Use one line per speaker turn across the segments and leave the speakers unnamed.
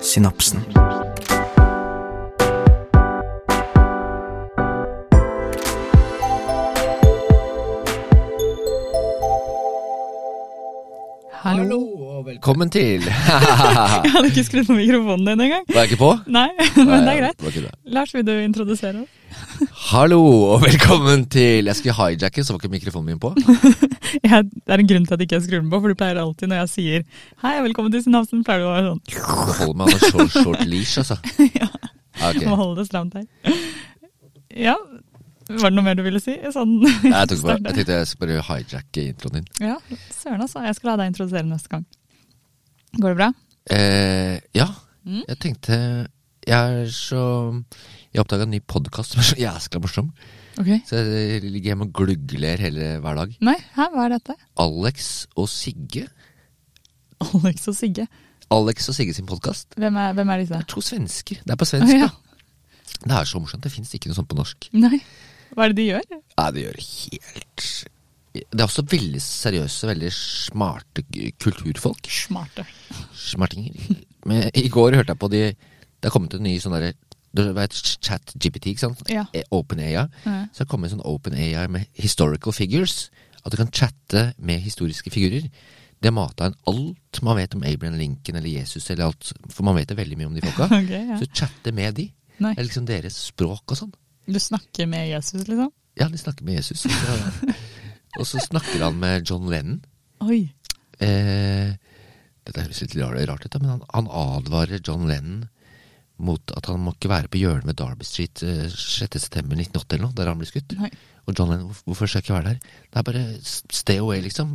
synapsen.
Hallo
Hallo og velkommen til Var
Jeg hadde ikke skrudd på mikrofonen din engang.
jeg ikke på?
Nei, men det er greit.
var ikke Eh, det.
Lars, vil du introdusere oss?
Hallo og velkommen til Jeg skulle hijacke, så var ikke mikrofonen min på.
Jeg, det er en grunn til at jeg ikke skrur den på, for du pleier alltid når jeg sier hei, velkommen til Synapsen, pleier du å være sånn.
Det holder meg med short, short leash, altså. Ja.
Må
Ok.
holde det stramt her. Ja, var det noe mer du ville si? Sånn,
Nei, Jeg, tok bare, jeg tenkte jeg skulle bare hijacke introen din.
Ja, søren altså. Jeg skal la deg introdusere neste gang. Går det bra?
Eh, ja,
Mm.
jeg tenkte Jeg er så Jeg oppdaga en ny podkast som er så jæskla morsom.
Ok.
Så jeg ligger hjemme og glugler hele hver dag.
Nei, hæ, hva er dette?
Alex og Sigge.
Alex og Sigge.
Alex og Sigge sin podkast.
Hvem er, hvem er disse?
Det er to svensker. Det er på
Å,
svensk,
ja.
da. Det er så morsomt. Det fins ikke noe sånt på norsk.
Nei. Hva er det de gjør?
Nei, det gjør helt Det er også veldig seriøse, veldig smarte k- kulturfolk.
Smarte.
Smartinger. Men i går hørte jeg på de Det har kommet en ny sånn derre Du vet ChatGPT, ikke sant?
Ja.
Eh, Open AI.
Ja.
Så det har kommet en sånn Open AI med historical figures. At du kan chatte med historiske figurer. Det mata inn alt man vet om Abraham Lincoln eller Jesus eller alt. For man vet det veldig mye om de folka.
Ok, ja.
Så chatte med de.
Nei.
Det er liksom deres språk og sånn.
Du snakker med Jesus, liksom?
Ja, de snakker med Jesus. Og så- Og så snakker han med John Lennon.
Oi.
Eh, dette høres litt rar- rart ut, da, men han, han advarer John Lennon mot at han må ikke være på hjørnet ved Derby Street eh, 6.9.1980 eller noe, der han blir skutt.
Nei.
Og John Lennon, "Hvorf- hvorfor skal jeg ikke være der? Det er bare s- stay away, liksom.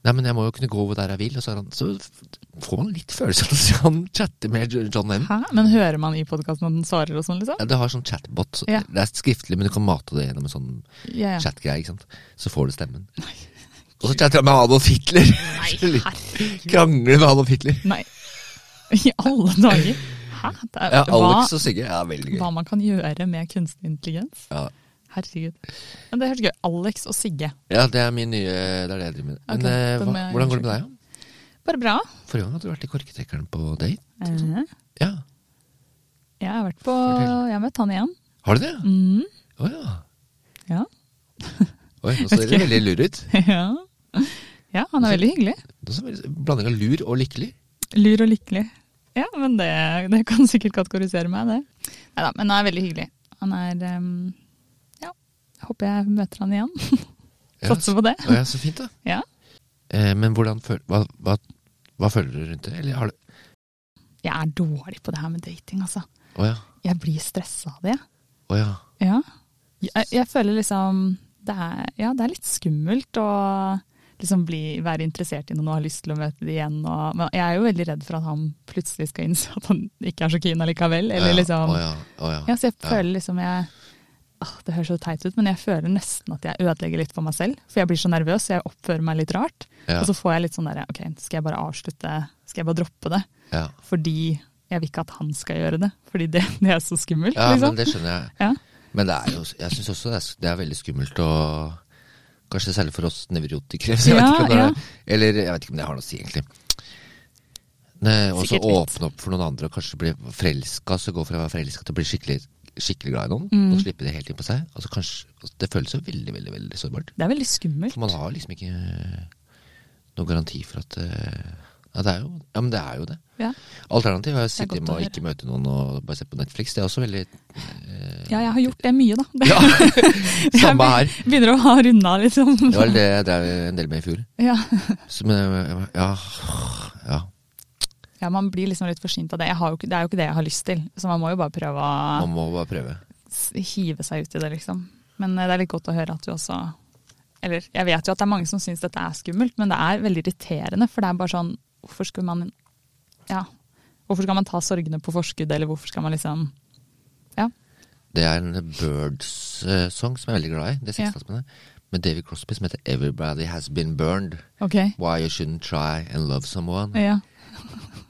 Nei, men jeg må jo kunne gå hvor der jeg vil. Og så, er han, så f- får man litt følelse av at han chatter med Jo- John Lennon.
Hæ? Men hører man i podkasten at den svarer og sånn, liksom?
Ja, det har sånn chatbot. så-
Ja.
Det er skriftlig, men du kan mate det gjennom en sånn
Ja, ja.
chatgreie, ikke sant. Så får du stemmen. Og så chatter jeg med Adolf Hitler! Krangler med Adolf Hitler.
Nei. I alle dager! Hæ? Det er,
Ja,
hva,
Alex og Sigge er veldig gøy.
hva man kan gjøre med kunstig intelligens?
Ja.
Herregud. Men det hørtes gøy Alex og Sigge.
ja, det er min nye Det er det jeg driver med. Men
Ok,
eh,
den må
hva,
jeg
hvordan går det med deg? da?
Bare bra.
Forrige gang hadde du vært i Korketrekkeren på date.
Eh,
Ja,
Jeg har vært på
Fortell.
Jeg har møtt han igjen.
Har du det?
Mm.
Å ja.
Ja.
Oi, nå ser
Vet
dere
ikke.
veldig lur ut.
ja. Ja, han er veldig hyggelig.
Nå ser dere- Blanding av lur og lykkelig.
Lur og lykkelig. Ja, men det, det kan sikkert kategorisere meg, det. Nei da, men han er veldig hyggelig. Han er ehm, Ja, jeg håper jeg møter han igjen.
Ja.
Satser på det.
Å, ja, så fint, da.
Ja.
Eh, men hvordan føl hva, hva, hva føler du rundt det? Eller har du
Jeg er dårlig på det her med dating, altså.
Å ja.
Jeg blir stressa av det.
Å ja.
Ja. Jeg, jeg føler liksom det er, Ja, det er litt skummelt å liksom bli, være interessert i noen og ha lyst til å møte dem igjen. Og, men jeg er jo veldig redd for at han plutselig skal innse at han ikke er så keen allikevel. Eller
Å ja.
liksom
Å ja. Å ja.
Ja, så jeg
Ja.
føler liksom jeg Åh, Det høres så teit ut, men jeg føler nesten at jeg ødelegger litt for meg selv. For jeg blir så nervøs, så jeg oppfører meg litt rart.
Ja.
Og så får jeg litt sånn derre Ok, skal jeg bare avslutte? Skal jeg bare droppe det?
ja.
Fordi jeg vil ikke at han skal gjøre det. Fordi det, det er så skummelt,
ja, men
liksom.
det skjønner jeg.
Ja.
Men det er jo, jeg syns også det er, det er veldig skummelt å Kanskje særlig for oss nevrotikere. så Jeg
Ja,
vet ikke om det
ja.
er, eller jeg vet ikke om det har noe å si, egentlig. Ne, Og så
Sikkert litt.
åpne opp for noen andre og kanskje bli forelska. Så gå fra å være forelska til å bli skikkelig, skikkelig glad i noen.
Mm.
Og slippe det helt inn på seg. Altså kanskje, Det føles jo veldig veldig, veldig sårbart.
Det er veldig skummelt.
For man har liksom ikke noe garanti for at eh, ja, det er jo, ja, men det er jo det.
Ja.
Alternativet er å
er
sitte
godt
hjemme
å
og
høre.
ikke møte noen og bare se på Netflix. Det er også veldig eh,
Ja, jeg har gjort det mye, da.
Ja, samme her.
Jeg begynner å ha runda, liksom.
Det var vel det jeg drev en del med i fjor.
Ja.
Så, men, eh, ja, ja.
ja, man blir liksom litt forsynt av det. Jeg har jo, ikke- det er jo ikke det jeg har lyst til. Så man må jo bare prøve å
Man må bare prøve.
s- hive seg ut i det, liksom. Men eh, det er litt godt å høre at du også Eller jeg vet jo at det er mange som syns dette er skummelt, men det er veldig irriterende. For det er bare sånn Hvorfor skulle man Ja. Hvorfor skal man ta sorgene på forskudd, eller hvorfor skal man liksom Ja.
Det er en Birds-sang som jeg er veldig glad i. Det er
Ja.
sekstatsbandet. Med David Crosby som heter 'Everybody Has Been Burned'.
Ok.
Why you shouldn't try and love someone.
Ja.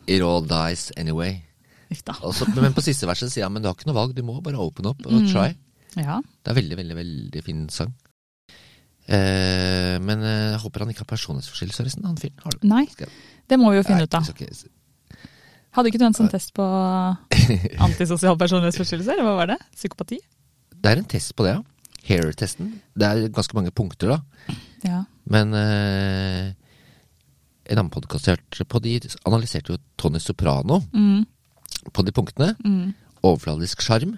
It all dies anyway.
Uff da.
Og så- men på siste verset sier han men du har ikke noe valg, du må bare open up og try.
Ja.
Det er veldig, veldig veldig fin sang. Eh, men eh, jeg håper han ikke har personlighetsforstyrrelser, resten. Han fyren har det.
Nei. Det må vi jo finne
Nei,
ut av.
vi skal ikke-
Hadde ikke du en sånn test på antisosial personlighetsforstyrrelse, eller hva var det? Psykopati?
Det er en test på det, ja. Hair-testen. Det er ganske mange punkter, da.
Ja.
Men eh, en annen podkast jeg hørte på, de analyserte jo Tony Soprano
Mm,
på de punktene.
mm.
Overfladisk sjarm.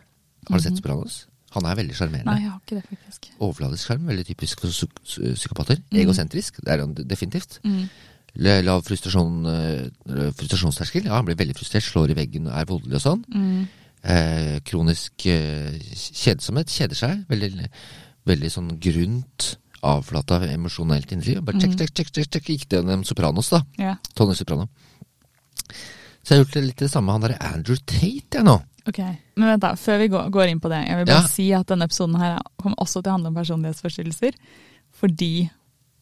Har du sett Sopranos? Han er veldig
Nei,
sjarmerende.
jeg har ikke det, faktisk.
Overfladisk sjarm, veldig typisk for psy- psy- psykopater. Egosentrisk, det er han definitivt.
Mm.
La- Lav frustrasjon, eh, frustrasjonsterskel. Ja, han blir veldig frustrert, slår i veggen, er voldelig og sånn.
Mm.
Eh, kronisk eh, kjedsomhet. Kjeder seg. Veldig, veldig sånn grunt, avflata emosjonelt indre liv. Bare check, check, check, check, check. Gikk det gjennom Sopranos, da.
Ja,
Tony Soprano. Så jeg har gjort det litt det samme med han derre Andrew Tate, jeg nå.
ok. Men vent da, før vi går, går inn på det, jeg vil bare
Ja.
si at denne episoden her kommer også til å handle om personlighetsforstyrrelser. Fordi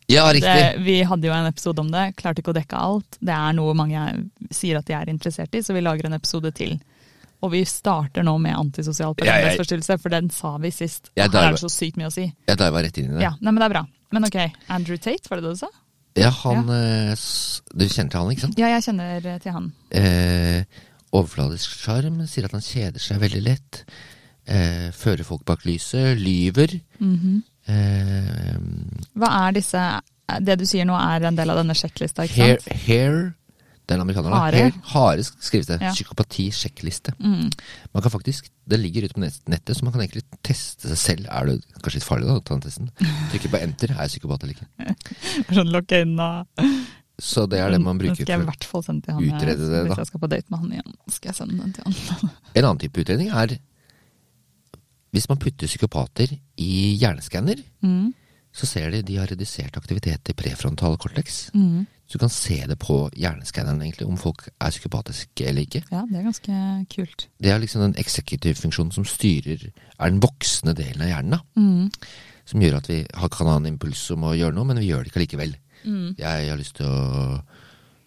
Ja,
det,
riktig.
vi hadde jo en episode om det, klarte ikke å dekke alt. Det er noe mange er- sier at de er interessert i, så vi lager en episode til. Og vi starter nå med antisosial
Ja, jeg-
personlighetsforstyrrelse, for den sa vi sist.
Jeg
Her
diver-
er det så sykt mye å si.
Jeg diva rett inn i det.
Ja, nei, men det er bra. Men ok, Andrew Tate, var det det du sa?
Ja, han eh, s- Du kjenner til han, ikke sant?
Ja, jeg kjenner eh, til han.
Eh, overfladisk sjarm, sier at han kjeder seg veldig lett. Eh, fører folk bak lyset, lyver.
Mhm.
eh,
Hva er disse Det du sier nå er en del av denne sjekklista, ikke
hair,
sant?
hair Det er en amerikaner, da.
Hare.
Hair, hare skrives det.
Ja. Mm.
Psykopati-sjekkliste. Man kan faktisk, Det ligger ute på nett- nettet, så man kan egentlig teste seg selv. Er det kanskje litt farlig da, å ta den testen? Trykker på enter, er jeg psykopat eller ikke.
Sånn lukke øynene og
Så det er det man
Den
bruker
skal jeg i
for
hvert fall sende til han.
utrede
jeg-
det, da.
Hvis jeg skal på date med han igjen, skal jeg sende den til han.
En annen type utredning er hvis man putter psykopater i hjerneskanner,
Mm,
så ser de de har redusert aktivitet i prefrontal cortex.
mm.
Så du kan se det på hjerneskanneren egentlig, om folk er psykopatiske eller ikke.
Ja, det er ganske kult.
Det er liksom den eksekutivfunksjonen som styrer, er den voksne delen av hjernen, da.
Mm.
Som gjør at vi har- kan ha en impuls om å gjøre noe, men vi gjør det ikke allikevel.
Mm.
Jeg har lyst til å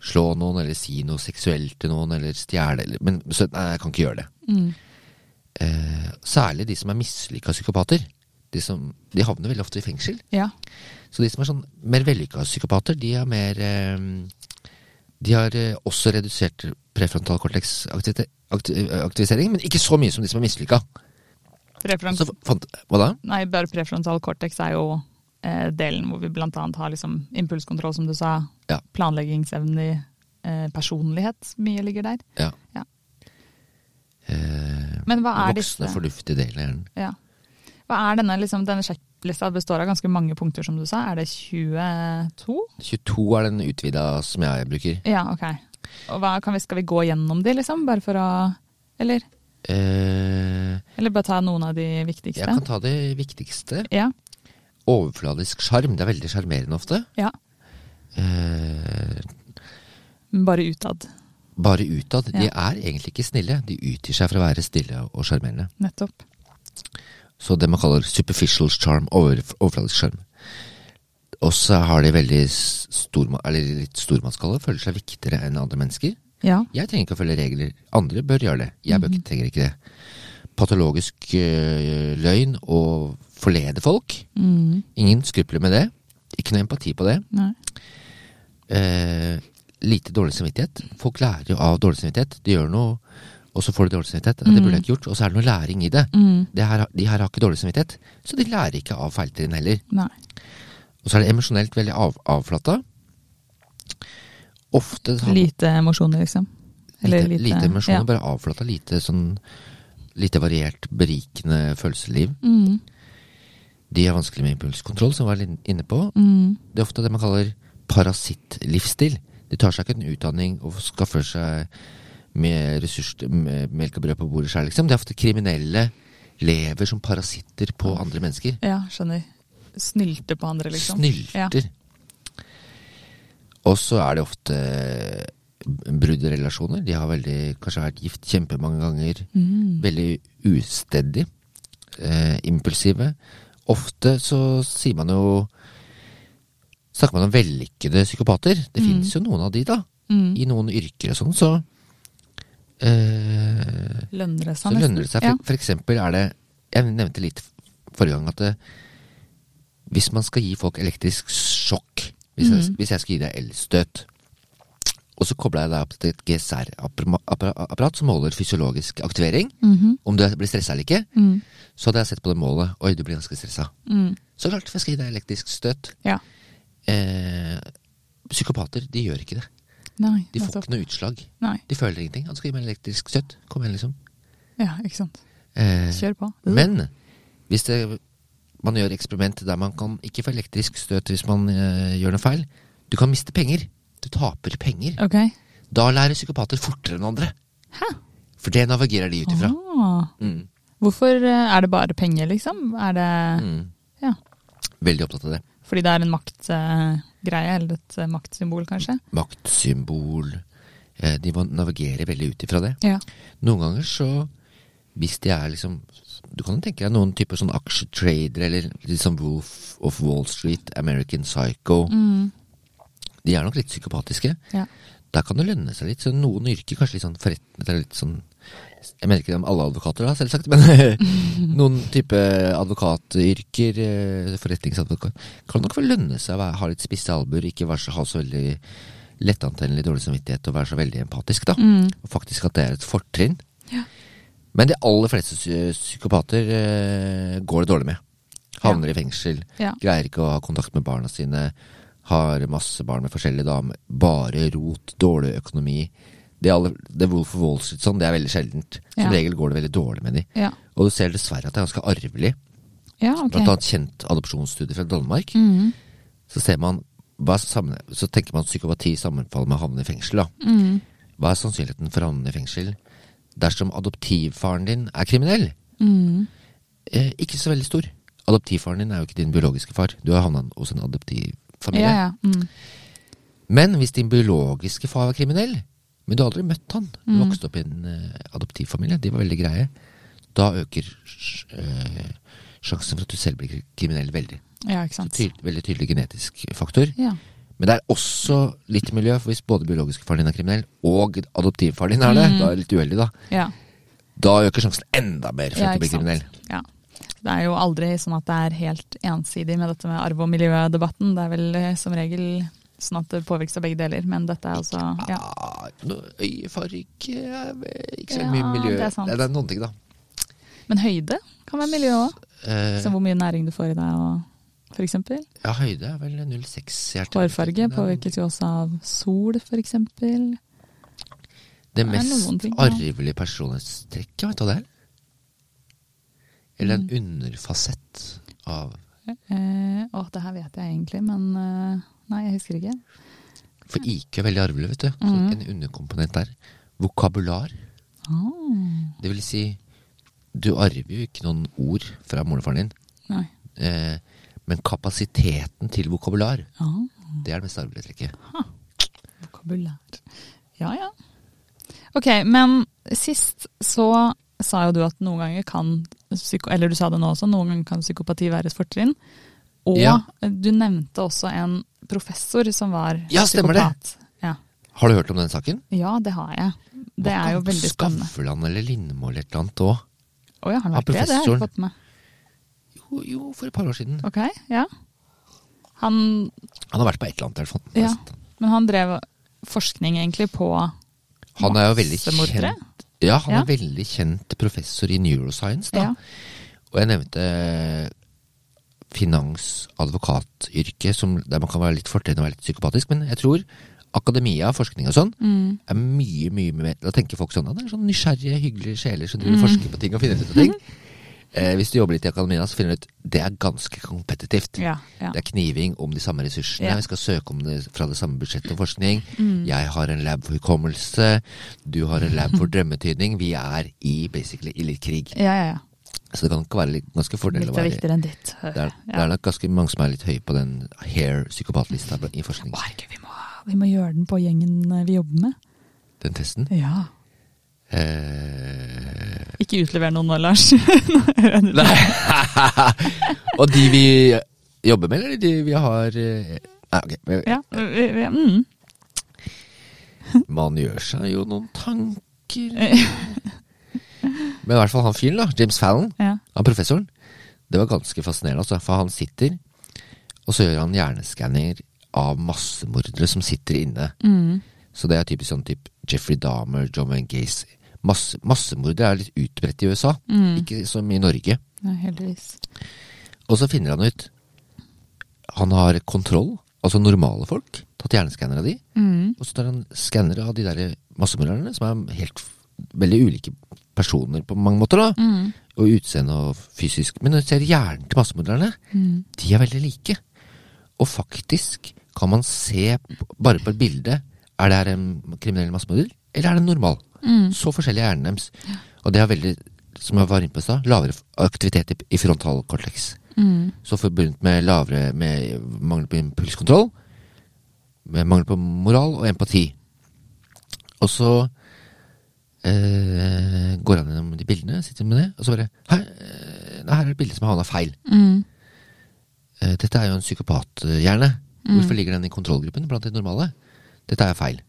slå noen, eller si noe seksuelt til noen, eller stjele, eller Men så, nei, jeg kan ikke gjøre det.
Mm.
Eh, særlig de som er mislykka psykopater. De, som, de havner veldig ofte i fengsel.
Ja.
Så de som er sånn mer vellykka psykopater, de er mer eh, De har eh, også redusert prefrontal cortex aktivite- akti- eh, aktivisering, men ikke så mye som de som er mislykka.
Prefrontal-
Så fant Hva da?
Nei, bare prefrontal cortex er jo eh, delen hvor vi blant annet har liksom impulskontroll, som du sa.
Ja.
Planleggingsevne, eh, personlighet. Mye ligger der.
Ja.
Ja.
Eh,
Men hva er
voksne,
disse?
fornuftige delen av hjernen.
Ja. Hva er denne, liksom, denne sjekklista består av ganske mange punkter, som du sa. Er det 22?
22 er den utvida som jeg bruker.
Ja, ok. Og hva, kan vi, skal vi gå gjennom de, liksom? Bare for å Eller?
Eh,
Eller bare ta noen av de
jeg
viktigste?
kan ta det viktigste.
Ja.
Overfladisk sjarm. Det er veldig sjarmerende ofte.
ja.
Eh,
Bare utad.
bare utad. De
Ja.
er egentlig ikke snille. De utgir seg for å være stille og sjarmerende.
Nettopp.
Så det man kaller superficial charm, over, overfladisk sjarm. Og så har de veldig s- stor, eller litt stormannsskalle, føler seg viktigere enn andre mennesker.
Ja.
Jeg trenger ikke å følge regler. Andre bør gjøre det. Jeg bør, ikke- trenger ikke det. Patologisk øh, løgn og forlede folk.
Mm.
Ingen skrupler med det. Ikke noe empati på det.
Nei.
Eh, lite dårlig samvittighet. Folk lærer jo av dårlig samvittighet. De gjør noe, og så får de dårlig samvittighet. Ja, Det burde jeg ikke gjort. Og så er det noe læring i det.
Mm.
det her, de her har ikke dårlig samvittighet, så de lærer ikke av feiltrinn heller.
Nei.
Og så er det emosjonelt veldig av, avflata. Ofte har-
Lite emosjoner, liksom.
lite, lite, emosjoner,
ja.
bare avflata. Lite sånn Lite variert, berikende følelsesliv.
Mm.
De har vanskelig med impulskontroll, som vi var lin- inne på.
Mm.
Det er ofte det man kaller parasittlivsstil. De tar seg ikke en utdanning og skaffer seg med ressurs, med melk og brød på bordet sjøl, liksom. Det er ofte kriminelle lever som parasitter på andre mennesker.
ja, skjønner. Snylte på andre, liksom. Ja.
Snylter. Og så er det ofte brudd i relasjoner. De har veldig, kanskje vært gift kjempemange ganger.
Mm,
Veldig usteddig. Eh, impulsive. Ofte så sier man jo Snakker man om vellykkede psykopater. Det finnes jo noen av de, da.
Mm.
I noen yrker og sånn, så eh,
Lønner det seg,
så lønner det seg.
Ja.
For, for eksempel er det Jeg nevnte litt forrige gang at eh, det,
Mm.
hvis man skal gi folk elektrisk sjokk Hvis, jeg, hvis jeg skal gi deg elstøt, Og så kobla jeg deg opp til et GSR-apparat som måler fysiologisk aktivering. Om du blir stressa eller ikke.
Mm-hmm. Mm.
Så hadde jeg sett på det målet. Oi, du blir ganske stressa.
Mm.
Så klart, for jeg skal gi deg elektrisk støt.
Ja.
Eh, psykopater, de gjør ikke det.
Nei,
De får
nettopp.
ikke noe utslag.
Nei.
De føler ingenting. Han skal gi meg elektrisk støt. Kom igjen, liksom.
Ja, ikke sant.
Eh,
Kjør Mm. på.
Men hvis det, man gjør eksperiment der man kan ikke få elektrisk støt hvis man eh, gjør noe feil, du kan miste penger. Du taper penger.
Ok.
Da lærer psykopater fortere enn andre.
Hæ?
For det navigerer de ut ifra.
Ah.
Mm.
Hvorfor eh, er det bare penger, liksom? Er det
Mm.
Ja.
Veldig opptatt av det.
Fordi det er en maktgreie, eller et eh, maktsymbol, kanskje?
Maktsymbol. Eh, de må navigere veldig ut ifra det.
Ja.
Noen ganger så Hvis de er liksom Du kan jo tenke deg noen typer sånn aksjetrader eller litt sånn Wolf of Wall Street, American Psycho.
Mm.
De er nok litt psykopatiske.
Ja.
Der kan det lønne seg litt. Så noen yrker, kanskje litt sånn forretnet eller litt sånn Jeg mener ikke om alle advokater, da, selvsagt, men noen type advokatyrker, eh, forretningsadvokat, kan nok vel lønne seg å være- ha litt spisse albuer, ikke være så, ha så veldig lettantennelig dårlig samvittighet og være så veldig empatisk, da.
Mm.
Og faktisk at det er et fortrinn.
Ja.
Men de aller fleste psy- psykopater eh, går det dårlig med. Havner i fengsel,
Ja.
greier ikke å ha kontakt med barna sine, har masse barn med forskjellige damer, bare rot, dårlig økonomi. Det, aller, det Wolf of Wall Street sånn, det er veldig sjeldent. Som
Ja.
regel går det veldig dårlig med de.
Ja.
Og du ser dessverre at det er ganske arvelig.
ja, ok.
Blant annet kjent adopsjonsstudie fra Danmark.
Mm.
Så ser man, hva er sammen- så tenker man at psykopati sammenfaller med å havne i fengsel. da.
Mm.
Hva er sannsynligheten for å havne i fengsel dersom adoptivfaren din er kriminell?
Mm.
Eh, ikke så veldig stor. Adoptivfaren din er jo ikke din biologiske far. Du har havna hos en adoptivfamilie.
Ja, ja. Mm.
Men hvis din biologiske far var kriminell, men du har aldri møtt han, du
Mm.
vokste opp i en eh, adoptivfamilie, de var veldig greie, da øker sj- eh, sjansen for at du selv blir kri- kriminell veldig.
ja, ikke sant.
Ty veldig tydelig genetisk faktor.
Ja.
Men det er også litt miljø, for hvis både biologiske faren din er kriminell, og adoptivfaren din er
Mm.
det, da er det litt uheldig, da.
ja.
Da øker sjansen enda mer for
Ja,
at du
ikke
blir kriminell.
sant. Ja. Det er jo aldri sånn at det er helt ensidig med dette med arv- og miljødebatten. Det er vel eh, som regel sånn at det påvirkes av begge deler, men dette er altså ja.
Ah, no- Øyefarge er vel ikke så mye
Ja,
miljø.
det er sant.
Nei, det er noen ting, da.
Men høyde kan være miljø òg.
Eh,
Som hvor mye næring du får i deg og for eksempel.
ja, høyde er vel 0,6 hjerte.
Hårfarge påvirkes jo også av sol, for eksempel.
Det
er
mest
noen ting, ja.
arvelige personlighetstrekket, vet du hva det er? Eller en
Mm.
underfasett av
Eh, å, det her vet jeg egentlig, men eh, nei, jeg husker ikke.
For IQ er veldig arvelig, vet du. Så
Mm.
En underkomponent der. Vokabular.
Ah,
Det vil si, du arver jo ikke noen ord fra moren og faren din,
nei.
eh, men kapasiteten til vokabular,
Ah.
det er det mest arvelige trekket.
Vokabulær. Ja, ja. Ok, men sist så sa jo du at noen ganger kan psyko, Eller du sa det nå også, noen ganger kan psykopati være et fortrinn. Og
Ja.
du nevnte også en professor som var
Ja, stemmer det.
psykopat. Ja.
Har du hørt om den saken?
ja, det har jeg. Det er jo veldig spennende.
Skavlan eller Lindmo eller et eller annet òg.
Å ja, han
Ja,
har vært det, det har jeg
professoren.
ikke fått med.
Jo, jo, for et par år siden.
Ok, ja. Han,
Han har vært på et eller annet, i hvert fall.
ja. Men han drev forskning egentlig på
Han er jo veldig
massemordere.
kjent. Ja, han
Ja.
er veldig kjent professor i neuroscience, da.
Ja.
Og jeg nevnte eh, finansadvokatyrket, som- der man kan være litt fortrinn og være litt psykopatisk. Men jeg tror akademia, forskning og sånn,
Mm.
er mye, mye mer Da tenker folk sånn at det er sånn nysgjerrige, hyggelige sjeler som driver og forsker på ting og finner ut av
Mm.
ting. Eh, hvis du jobber litt i akademia, så finner du ut det er ganske kompetitivt.
Ja, ja.
Det er kniving om de samme ressursene.
Ja. Mm.
Vi skal søke om det fra det samme budsjettet og forskning. Jeg har en lab for hukommelse. Du har en lab for drømmetydning. Vi er i basically i litt krig.
Ja, ja, ja.
Så det kan nok være litt, ganske fordel å
Mitt er
være
viktigere enn ditt.
det er, det
Ja.
er nok ganske mange som er litt høye på den hair-psykopatlista i forskning.
Å, herregud, vi må, vi må gjøre den på gjengen eh, vi jobber med.
Den testen.
Ja.
Eh,
Ikke utlever noen nå, Lars. Nei.
og de vi jobber med, eller de vi har eh, Nei, ok. men
Ja, vi, vi, mm.
Man gjør seg jo noen tanker Men i hvert fall han fyren, da. James Fallon.
ja.
Han professoren. Det var ganske fascinerende, altså. For han sitter, og så gjør han hjerneskanner av massemordere som sitter inne.
Mm.
Så det er typisk sånn type Jeffrey Dahmer, John Wayne Gacy. Masse, massemordere er litt utbredt i USA, ikke som i Norge.
Nei, heldigvis.
Og så finner han ut Han har kontroll, altså normale folk, tatt hjerneskanner av de,
Mm.
og så tar han skanner av de der massemorderne, som er helt f- veldig ulike personer på mange måter, da.
Mm.
Og utseende og fysisk. Men når du ser hjernen til massemorderne,
Mm.
de er veldig like. Og faktisk kan man se, p- bare på et bilde, er det her en kriminell massemorder, eller er det en normal?
Mm.
Så forskjellig er hjernen deres. Og det er veldig, som jeg var inne på i stad, lavere f- aktivitet i- i frontalkorteks.
Mm.
Så forbundet med lavere med mangel på impulskontroll, med mangel på moral og empati. Og så eh, går han gjennom de bildene, sitter med det, og så bare Hei, eh, nei, her er et bilde som har havna feil.
Mm.
Eh, dette er jo en psykopathjerne.
Mm.
Hvorfor ligger den i kontrollgruppen blant de normale? Dette er feil.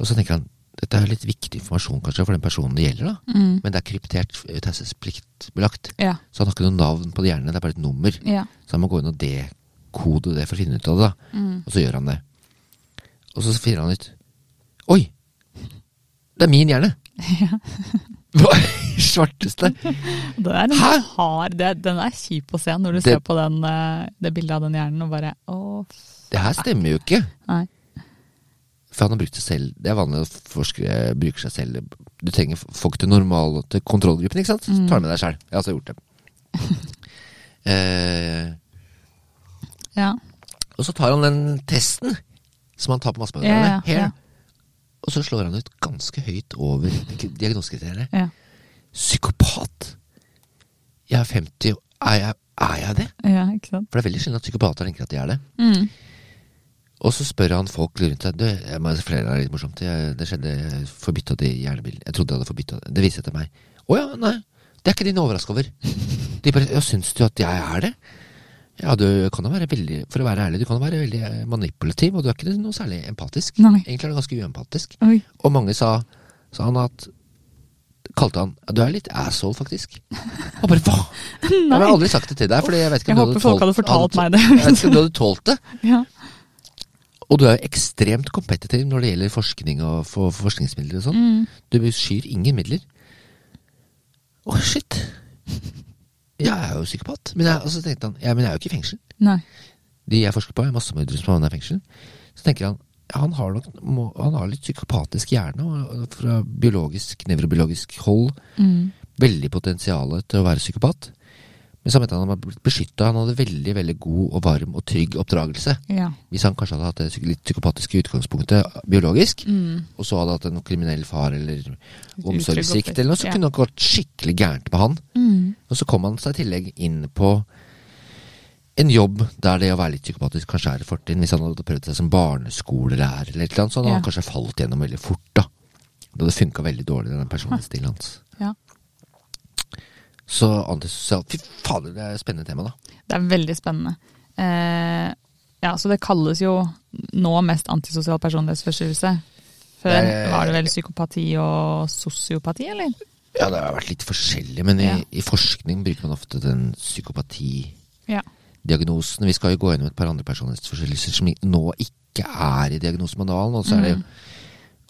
Og så tenker han dette er litt viktig informasjon kanskje for den personen det gjelder, da.
Mm.
Men det er kryptert, eh, taushetspliktbelagt.
Ja.
Så han har ikke noe navn på de hjernene, det er bare et nummer.
Ja.
Så han må gå inn og dekode det for å finne ut av det. da.
Mm.
Og så gjør han det. Og så finner han ut Oi! Det er min hjerne! Hva i svarteste?
Det er en
Hæ?
hard, det, den er kjip å se når du
Det-
ser på den, eh, det bildet av den hjernen og bare åh, f-
Det her stemmer jo ikke!
nei.
For han har brukt seg selv Det er vanlig at forskere bruker seg selv. Du trenger folk til normal til kontrollgruppen, ikke sant? Så tar du med deg sjæl. Jeg har altså gjort det. eh,
Ja.
og så tar han den testen som han tar på
Ja,
massemediene.
ja, ja.
Og så slår han ut ganske høyt over diagnosekriteriene.
Ja.
Psykopat! Jeg er 50, og er jeg, er jeg det?
ja, ikke sant?
For det er veldig synd at psykopater tenker at de er det.
Mm.
Og så spør han folk rundt seg. Du, jeg må flere er litt morsomt. Jeg, det skjedde, jeg forbytta det i hjernebilen. Jeg trodde jeg hadde forbytta det. Det viste seg til meg. Å ja, nei. Det er ikke de noe overraska over. De bare Ja, syns du at jeg er det? Ja, du kan jo være veldig For å være ærlig, du kan jo være veldig eh, manipulativ, og du er ikke noe særlig empatisk.
Nei.
Egentlig er du ganske uempatisk.
Oi.
Og mange sa, sa han at Kalte han Du er litt asshole, faktisk. Og bare hva? Jeg har aldri sagt det til deg, fordi jeg vet ikke om
Jeg
du
håper folk hadde fortalt meg det.
Jeg vet ikke om du hadde tålt det.
Ja.
Og du er jo ekstremt kompetitiv når det gjelder forskning og for forskningsmidler og sånn.
Mm.
Du skyr ingen midler. Å, shit. Jeg er jo psykopat. Men jeg, og så tenkte han, ja, men jeg er jo ikke i fengsel.
Nei.
De jeg forsker på, er massemordere som havner i fengsel. Så tenker han ja, han har nok må, han har litt psykopatisk hjerne og- og fra biologisk, nevrobiologisk hold.
Mm.
Veldig potensial til å være psykopat. Men så mente han han var blitt beskytta. Han hadde veldig veldig god og varm og trygg oppdragelse.
Ja.
Hvis han kanskje hadde hatt det psyk- litt psykopatiske utgangspunktet biologisk,
Mm.
og så hadde hatt en kriminell far eller
Utrygg
omsorgssvikt
oppvekst,
eller noe, så
ja.
kunne det gått skikkelig gærent med han.
Mm.
Og så kom han seg i tillegg inn på en jobb der det å være litt psykopatisk kanskje er et fortrinn. Hvis han hadde prøvd seg som barneskolelærer eller et eller annet, så hadde han
Ja.
kanskje falt gjennom veldig fort, da. Det hadde funka veldig dårlig, den personlighetsstilen hans.
ja.
Så antisosial Fy fader, det er et spennende tema, da.
Det er veldig spennende. Eh, ja, så det kalles jo nå mest antisosial personlighetsforstyrrelse. Før
Det er-
var det vel psykopati og sosiopati, eller?
Ja, det har vært litt forskjellig, men i,
Ja.
i forskning bruker man ofte den psykopati...
Ja.
diagnosen. Vi skal jo gå gjennom et par andre personlighetsforstyrrelser som i- nå ikke er i diagnosemanualen. Og så er det
Mm.
jo,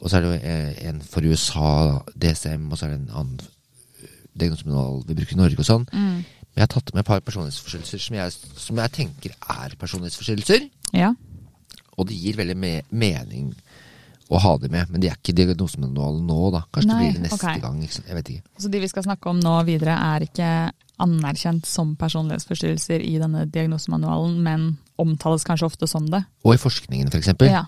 og så er det jo eh, en for USA, da, DSM, og så er det en annen eh, diagnosemanual vi bruker i Norge og sånn.
Mm.
Men jeg har tatt med et par personlighetsforstyrrelser som jeg, som jeg tenker er personlighetsforstyrrelser.
Ja.
Og det gir veldig me mening å ha det med, men de er ikke i diagnosemanualen nå, da. Kanskje
Nei,
det blir det neste
ok.
gang. Ikke sant? Jeg vet ikke.
Så de vi skal snakke om nå videre er ikke anerkjent som personlighetsforstyrrelser i denne diagnosemanualen, men omtales kanskje ofte som det.
Og i forskningen, for eksempel.
Ja,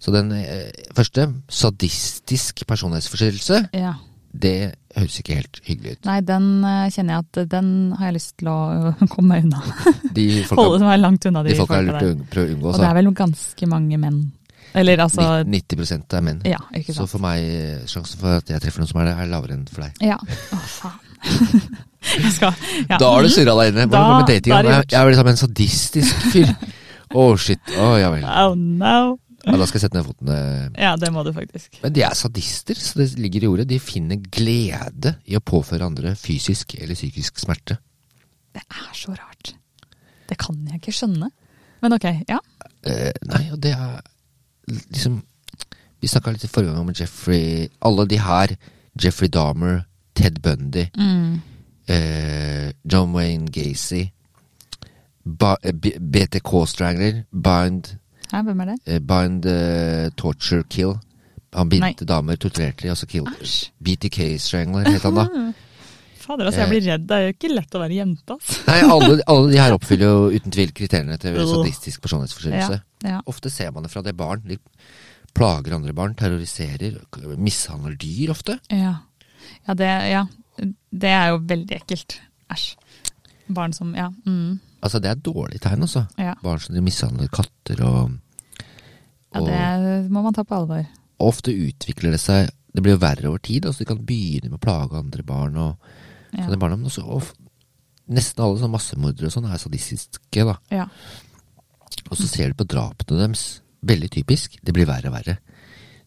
Så den eh, første, sadistisk personlighetsforstyrrelse,
ja.
Det høres ikke helt hyggelig ut.
Nei, den eh, kjenner jeg at eh, den har jeg lyst til å komme meg unna.
De
Holde
folka,
meg langt unna de,
de folka er
folka
lurt å
der.
unng- prøve å unngå.
Og
Så.
det er vel ganske mange menn. Eller altså,
90 er menn.
ja, ikke
Så
sant.
for meg, eh, sjansen for at jeg treffer noen som er det, er lavere enn for deg.
Ja, å faen. jeg skal, ja. Mhm.
Da har du surra deg inne!
Da-
Hvordan går det med dating?
da er det
Jeg,
gjort.
jeg er vel sammen med en sadistisk fyr. Å, shit. Å, ja vel.
Oh no.
Ja, da skal jeg sette ned foten. eh.
Ja, det må du faktisk.
Men de er sadister, så det ligger i ordet. De finner glede i å påføre andre fysisk eller psykisk smerte.
Det er så rart. Det kan jeg ikke skjønne. Men ok, ja.
Eh, nei, og det er liksom Vi snakka litt i forrige gang om Jeffrey Alle de her. Jeffrey Dahmer, Ted Bundy,
Mm.
eh, John Wayne Gacy, ba, eh, B- BTK Strangler, Bind,
Hæ, hvem er det?
eh, bind eh, Torture Kill. Han bindte
Nei. Ah.
damer, torturerte de, og så kill.
Æsj.
BTK Strangler het han da.
Fader, altså, jeg blir redd. Det er jo ikke lett å være jente, altså.
Nei, alle, alle de her oppfyller jo uten tvil kriteriene til
Øh.
sadistisk personlighetsforstyrrelse.
Ja, ja.
Ofte ser man det fra det barn. De plager andre barn, terroriserer, k- mishandler dyr ofte.
Ja. Ja, det, ja. det er jo veldig ekkelt. Æsj. Barn som Ja. Mm.
Altså, det er et dårlig tegn, altså.
ja.
Barn som de mishandler katter og
ja det må man ta på alvor.
Og ofte utvikler det seg Det blir jo verre over tid. altså De kan begynne med å plage andre barn. og
Ja.
sånne barn, men også, of, Nesten alle sånne massemordere og sånn er sadistiske. da.
ja.
Og så ser du på drapene deres. Veldig typisk. Det blir verre og verre.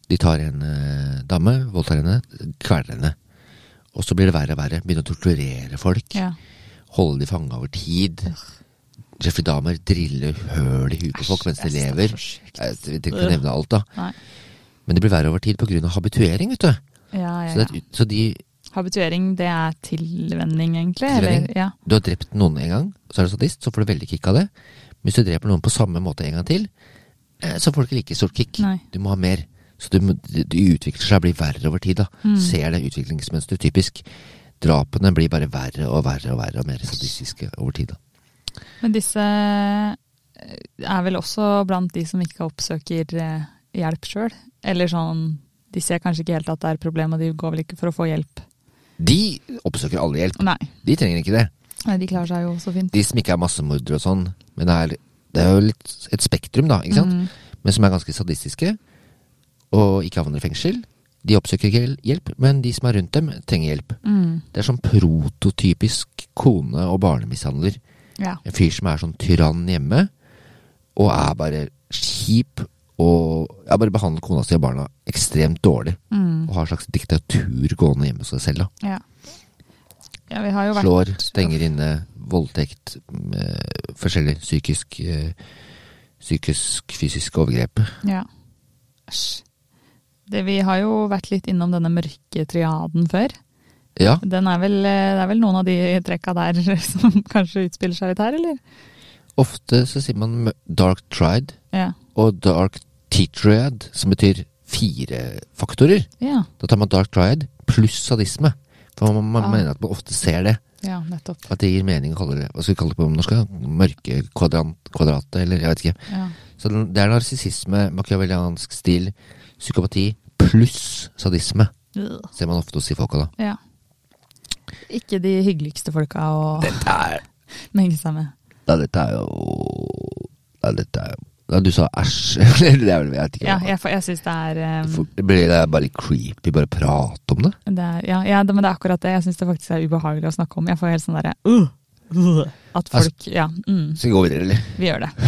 De tar en eh, dame, voldtar henne, kveler henne. Og så blir det verre og verre. Begynner å torturere folk.
ja.
Holde de fanga over tid. Jeffrey Dahmer driller høl i huet på folk mens de
jeg synes det er
lever.
så sjukt.
Jeg trenger ikke å nevne alt, da.
Nei.
Men det blir verre over tid pga. habituering, vet du.
Ja, ja,
Så, det, er
ja.
et ut- så de
Habituering, det er tilvenning, egentlig?
Tilvenning.
Eller, ja.
Du har drept noen en gang, så er du sadist, så får du veldig kick av det. Men hvis du dreper noen på samme måte en gang til, eh, så får du ikke like stort kick.
Nei.
Du må ha mer. Så du, må- du utvikler seg og blir verre over tid. da. Ser det utviklingsmønsteret typisk. Drapene blir bare verre og verre og verre og mer sadistiske over tid. da.
Men disse eh, er vel også blant de som ikke oppsøker eh, hjelp sjøl? Eller sånn De ser kanskje ikke helt at det er et problem, og de går vel ikke for å få hjelp?
De oppsøker alle hjelp.
Nei.
De trenger ikke det.
Nei, De klarer seg jo så fint.
De som ikke er massemordere og sånn, men det er, det er jo litt et spektrum, da, ikke sant? Men som er ganske sadistiske, og ikke havner i fengsel. De oppsøker ikke hjelp, men de som er rundt dem, trenger hjelp.
Mm.
Det er sånn prototypisk kone- og barnemishandler.
Ja.
En fyr som er sånn tyrann hjemme, og er bare kjip og ja, bare behandler kona si og barna ekstremt dårlig.
Mm.
Og har en slags diktatur gående hjemme hos seg selv. da.
ja. Ja, vi har jo vært
Slår, stenger inne, voldtekt, eh, forskjellig psykisk, eh, psykisk fysisk overgrep.
Ja. Æsj. Det, vi har jo vært litt innom denne mørke triaden før.
Ja,
Den er vel, eh, det er vel noen av de trekka der som kanskje utspiller seg litt her, eller?
ofte så sier man mø- dark triad
Ja.
og dark tetriad, som betyr fire faktorer.
Ja,
Da tar man dark triad pluss sadisme. For man, man
Ah.
mener at man ofte ser det.
ja nettopp.
At det gir mening å kalle det Hva skal vi kalle det på norsk? da? Mørke kvadrant, kvadratet, eller jeg vet ikke.
Ja.
Så den- det er narsissisme, machiavelliansk stil, psykopati pluss sadisme. Ser man ofte hos de folka, da.
ja. Ikke de hyggeligste folka å
Dette er,
menge seg med.
ja, dette er jo ja, dette er, ja, Du sa æsj. Eller det er vel Jeg vet ikke.
Ja, jeg, får- jeg syns det er eh,
For- det blir det er bare litt creepy bare å prate om det.
det er, ja, ja, det- men det er akkurat det. Jeg syns det faktisk er ubehagelig å snakke om. Jeg får helt sånn derre uh, uh, At
Altså-
folk Ja, mm,
Skal vi gå videre, eller?
vi gjør det.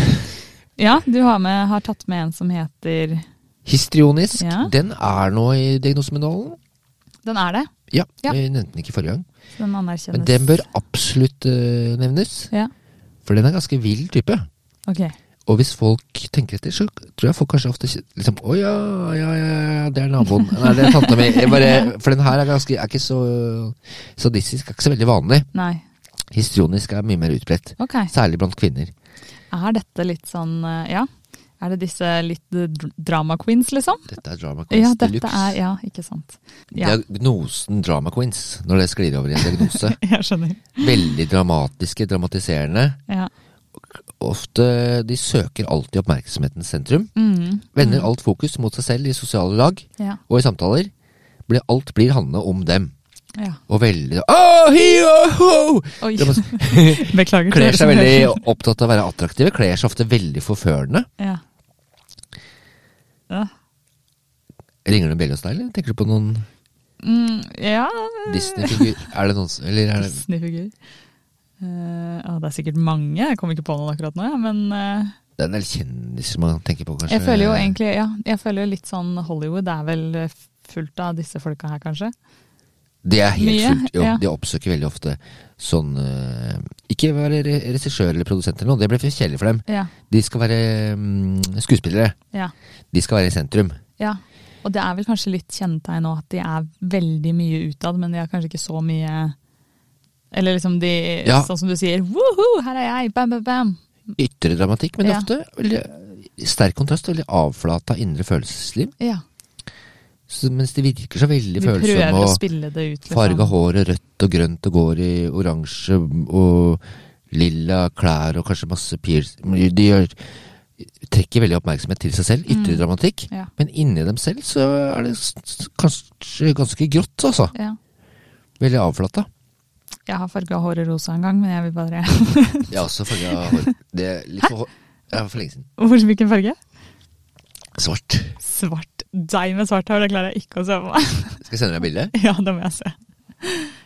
Ja, du har, med, har tatt med en som heter
Histrionisk,
Ja.
den er nå i diagnosemanualen.
Den er det.
Ja,
Ja.
vi nevnte den ikke forrige gang.
så Den anerkjennes.
Men den bør absolutt eh, nevnes,
Ja,
for den er ganske vill type.
ok.
Og hvis folk tenker etter, så tror jeg folk kanskje ofte kje- liksom Å ja, ja, ja, ja, det er naboen. Nei, det er tanta mi. Jeg bare, for den her er ganske er ikke så sadistisk. Er ikke så veldig vanlig.
Nei.
Histrionisk er mye mer utbredt.
Ok.
Særlig blant kvinner.
Er dette litt sånn eh, Ja. Er det disse litt eh, dr- drama queens, liksom?
Dette er drama queens
Ja,
de
dette
luxe.
er Ja, ikke sant. Ja,
Diagnosen drama queens, når det sklir over i en diagnose.
jeg skjønner.
Veldig dramatiske, dramatiserende.
Ja.
Ofte de søker alltid oppmerksomhetens sentrum.
Mm.
Vender alt fokus mot seg selv i sosiale lag
Ja.
og i samtaler. Blir, alt blir handlende om dem.
ja.
Og veldig Åh, hi, åh, ho!
Oi.
Det må-
Beklager. til
Kler
dere som
seg
hører.
veldig opptatt av å være attraktive. Kler seg ofte veldig forførende.
Ja. Ja.
Ringer det en bjelle hos deg, eller tenker du på noen
Mm, ja.
Disney-figur? Er det noen som Eller er det
Disney-figur. Eh, å, det er sikkert mange, jeg kom ikke på noen akkurat nå. Ja. Men eh,
Det er en del kjendiser man tenker på, kanskje?
jeg føler jo egentlig ja, jeg føler jo litt sånn Hollywood er vel eh, fullt av disse folka her, kanskje.
Det er helt
Mye,
fullt. Jo,
ja.
De oppsøker veldig ofte sånn eh, Ikke være re- regissør eller produsent eller noe, det blir for kjedelig for dem.
Ja.
De skal være mm, skuespillere.
Ja.
De skal være i sentrum.
ja. Og det er vel kanskje litt kjennetegn nå at de er veldig mye utad, men de har kanskje ikke så mye Eller liksom de,
Ja.
sånn som du sier, woho, her er jeg, bam, bam, bam.
Ytre dramatikk, men det er
Ja.
ofte veldig sterk kontrast og veldig avflata indre følelsesliv.
Ja,
Så, mens de virker så veldig
de prøver å
følsomme og
spille det ut. Liksom.
farga håret rødt og grønt og går i oransje og lilla klær og kanskje masse piercing De gjør, trekker veldig oppmerksomhet til seg selv. Ytre
Mm.
dramatikk.
Ja.
Men inni dem selv så er det s- s- kanskje ganske grått, altså.
ja.
Veldig avflata.
Jeg har farga håret rosa en gang, men jeg vil bare
Jeg har også farga hår. Det er litt for, hår- ja, for lenge siden.
Hvor, Hvilken farge?
Svart.
Svart. Deg med svart hår, det klarer jeg ikke å se på meg.
Skal jeg sende deg bilde?
Ja, det må jeg se.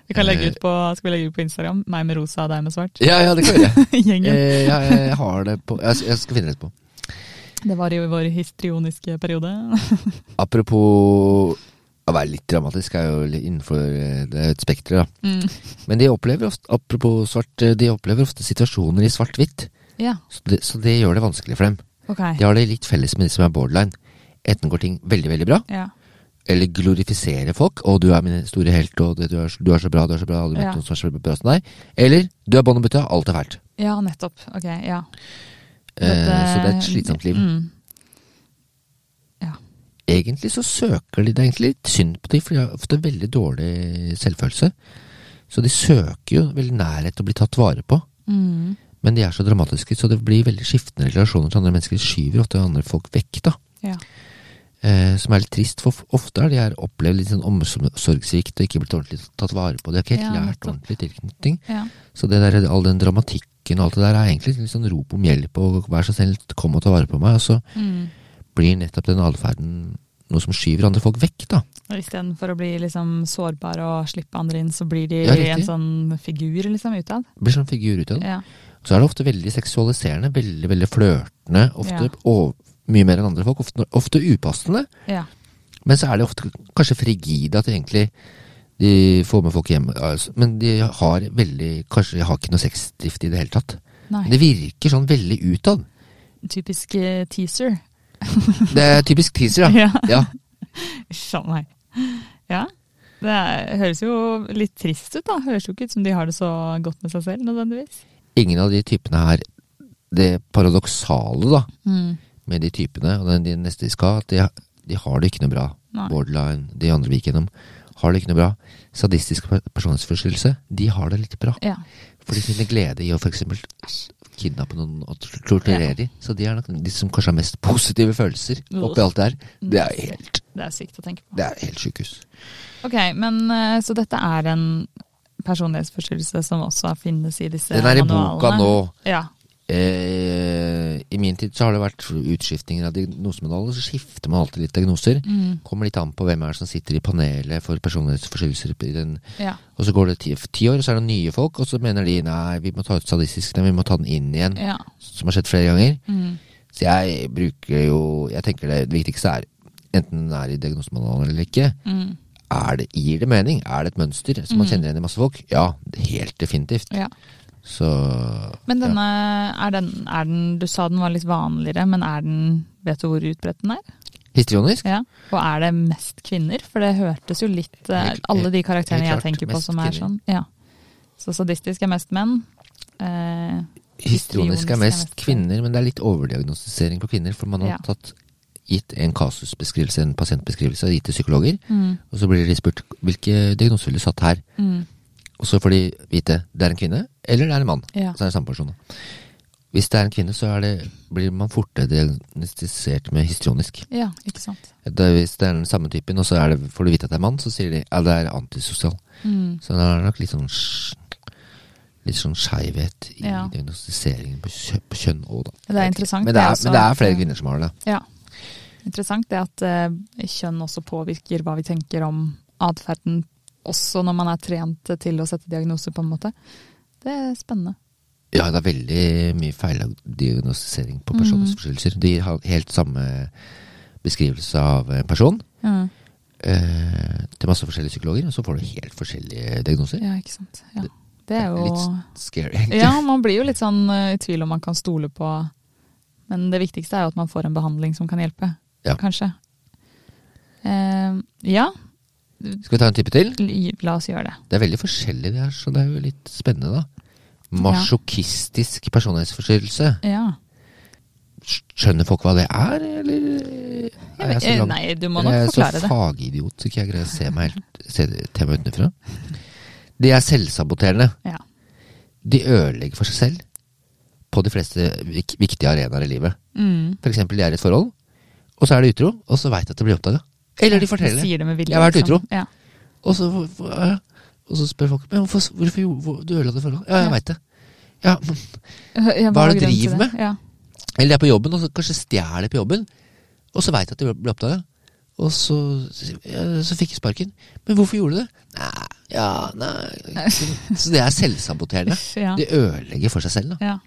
Vi kan
Eh.
legge ut på, skal vi legge ut på Instagram. Meg med rosa og deg med svart.
Ja, ja, det kan vi gjøre.
Gjengen.
Eh, ja, jeg har det på Jeg, jeg skal finne det etterpå.
Det var jo i vår histrioniske periode.
Apropos å være litt dramatisk, er jo litt innenfor eh, det er et spekter, da.
Mm.
Men de opplever ofte, apropos svart, eh, de opplever ofte situasjoner i svart-hvitt.
Ja,
Så, det- så det gjør det vanskelig for dem.
ok.
De har det litt felles med de som er borderline. Enten går ting veldig, veldig bra,
Ja.
eller glorifiserer folk. 'Å, du er min store helt, og det- du er, så- du er så bra, du er så bra, aldri møtt
Ja.
noen som er så bra som deg.' Eller 'du er bånn og butta, alt er fælt'.
ja, nettopp. Ok, ja.
Eh, så det er et slitsomt liv.
Mm.
egentlig så søker de Det er egentlig litt synd på de, for de har ofte veldig dårlig selvfølelse. Så de søker jo veldig nærhet til å bli tatt vare på.
Mm.
Men de er så dramatiske, så det blir veldig skiftende relasjoner til andre mennesker. De skyver ofte andre folk vekk, da.
Ja.
Eh, som er litt trist, for ofte har de her opplevd litt sånn omsorgssvikt og ikke blitt ordentlig tatt vare på. De har ikke helt
Ja,
lært
nettopp.
ordentlig tilknytning.
ja.
Så det der, all den dramatikken og alt det der er egentlig litt sånn rop om hjelp og vær så snill, kom og ta vare på meg. Og så
Mm.
blir nettopp den atferden noe som skyver andre folk vekk, da.
Og Istedenfor å bli liksom sårbar og slippe andre inn, så blir de
Ja, riktig.
en sånn figur liksom utad.
blir sånn figur ut av det.
Ja.
Så er det ofte veldig seksualiserende, veldig veldig flørtende. Ofte
Ja.
og mye mer enn andre folk. Ofte, ofte upassende.
Ja.
Men så er de ofte kanskje frigide, at de egentlig de får med folk hjem. altså, Men de har veldig Kanskje de har ikke noe sexdrift i det hele tatt. Men
Nei.
det virker sånn veldig utad.
Typisk eh, teaser.
Det er typisk teaser, ja. ja.
Skjønner meg. Ja. Det er, høres jo litt trist ut, da. Høres jo ikke ut som de har det så godt med seg selv, nødvendigvis.
Ingen av de typene her Det paradoksale, da,
Mm.
med de typene og den de neste de skal, at de, de har det ikke noe bra.
Nei.
borderline, de andre vi gikk gjennom, har det ikke noe bra. Sadistisk per- personlighetsforstyrrelse, de har det litt bra.
Ja.
For de finner glede i å f.eks. kidnappe noen og tor- torturere dem. Så de er nok de som kanskje har mest positive følelser oppi alt det her. Det er
Mm.
helt,
Det er sykt å tenke på.
det er helt sjukehus.
Ok, men eh, Så dette er en personlighetsforstyrrelse som også finnes i disse
Den er i
manualene?
boka nå.
Ja.
Eh, I min tid så har det vært utskiftinger av diagnosemedaljer, så skifter man alltid litt diagnoser.
Mm.
Kommer litt an på hvem er det som sitter i panelet for personlighetsforstyrrelser i den
ja.
Og så går det ti, ti år, og så er det nye folk, og så mener de nei, vi må ta ut sadistisk, nei, vi må ta den inn igjen,
Ja.
som har skjedd flere ganger.
Mm.
Så jeg bruker jo Jeg tenker det viktigste er, enten den er i diagnosemanualen eller ikke,
Mm.
er det, gir det mening? Er det et mønster som man kjenner igjen i masse folk? Ja, helt definitivt.
ja.
Så
Men denne, er den, er den Du sa den var litt vanligere, men er den Vet du hvor utbredt den er?
histrionisk.
Ja, Og er det mest kvinner? For det hørtes jo litt eh,
Helt-
Alle de karakterene jeg
helt klart,
tenker på
mest
som er
kvinner.
sånn. Ja. Så sadistisk er mest menn. Eh,
Histrionisk er mest
kvinner.
kvinner, men det er litt overdiagnostisering på kvinner, for man har
Ja.
tatt gitt en kasusbeskrivelse, en pasientbeskrivelse, og gitt til psykologer,
Mm,
og så blir de spurt hvilke diagnoser ville du satt her?
mm,
Og så får de vite det er en kvinne, eller det er en mann.
ja.
Så er det samme person. da. Hvis det er en kvinne, så er det, blir man fortere diagnostisert med histrionisk.
ja, ikke sant.
Det, er- hvis det er den samme typen, og så er det, får du vite at det er mann, så sier de ja, det er antisosial.
Mm,
Så det er nok litt sånn sj- Litt sånn skeivhet i
Ja.
diagnostiseringen på kjø- på kjønn òg, da.
Det er interessant,
Men det er,
det er
men
også
det
Mm.
er flere
at-
kvinner som har det.
ja. Interessant det at eh, kjønn også påvirker hva vi tenker om atferden, også når man er trent til å sette diagnose, på en måte. Det er spennende.
Ja, det er veldig mye feildiagnostisering
Mhm.
på personlighetsforstyrrelser. De har helt samme beskrivelse av en person.
Mm,
eh, til masse forskjellige psykologer, og så får du helt forskjellige diagnoser.
ja, ikke sant. Ja. Det er
Litt
jo
Scary, egentlig.
Ja, man blir jo litt sånn eh, i tvil om man kan stole på Men det viktigste er jo at man får en behandling som kan hjelpe,
Ja.
kanskje. Eh, ja,
Skal vi ta en tippe til?
l- la oss gjøre det.
Det er veldig forskjellig det her, så det er jo litt spennende, da. Masjokistisk personlighetsforstyrrelse.
Ja.
Skjønner folk hva det er, eller er jeg så
Eh,
langt-
Nei, du må
eller er
nok
jeg
forklare
så
det.
fagidiot, så ikke jeg greier å se meg helt, se temaet utenfra. De er selvsaboterende.
Ja.
De ødelegger for seg selv på de fleste vik viktige arenaer i livet.
Mm.
For eksempel de er i et forhold, og så er de utro, og så veit de at det blir oppdaga. Eller de forteller det.
Sier det med vilje.
Jeg har vært
liksom.
utro.
Ja.
Og så, ja, ja. og så spør folk Men hvorfor, hvorfor gjorde- hvor, du ødela det forholdet? Ja, jeg
Ja.
veit det. Ja, men-
Ja,
Hva er det
var
du
grunnen til
driver
det? Ja.
eller de er på jobben, og så kanskje stjeler på jobben. Og så veit jeg at det blir oppdaga. Og så, ja, så fikk jeg sparken. Men hvorfor gjorde du det? Nei, ja, nei Så, så det er selvsaboterende.
Uff, ja.
De ødelegger for seg selv, da.
Ja.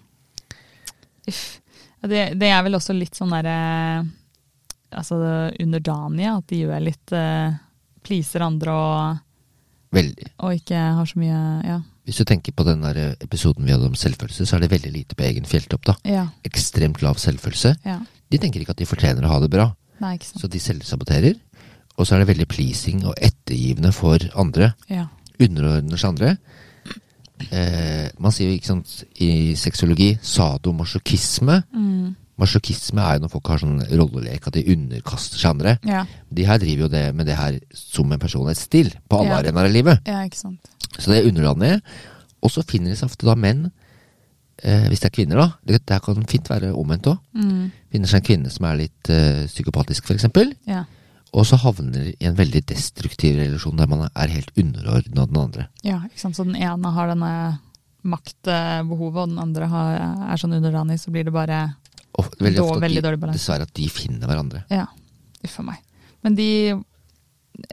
Uff. Ja, Det, det er vel også litt sånn derre Altså underdanige, at de gjør litt eh, Pleaser andre og,
Veldig.
og ikke har så mye Ja.
Hvis du tenker på den der eh, episoden vi hadde om selvfølelse, så er det veldig lite på egen fjelltopp, da.
Ja.
Ekstremt lav selvfølelse.
ja.
De tenker ikke at de fortjener å ha det bra.
Nei, ikke sant.
Så de selvsaboterer. Og så er det veldig pleasing og ettergivende for andre.
Ja.
Underordner seg andre. Eh, man sier jo ikke sant i sexologi sadomasochisme.
Mm.
Masochisme er jo når folk har sånn rollelek at de underkaster seg andre.
ja.
De her driver jo det med det her som en personlighetsstil på alle
Ja.
arenaer i livet.
Ja, ikke sant.
Så det er underlandet. Og så finner det seg ofte da menn, eh, hvis det er kvinner, da. Det, det her kan fint være omvendt òg.
Mm.
Finner seg en kvinne som er litt eh, psykopatisk, f.eks.
Ja.
Og så havner i en veldig destruktiv relasjon der man er helt underordna den andre.
ja, ikke sant. Så den ene har denne maktbehovet, og den andre har, er sånn underdanig, så blir det bare
Og veldig
Dår-
ofte at
veldig
de,
dårlig balanse.
dessverre at de finner hverandre.
Ja, uff a meg. Men de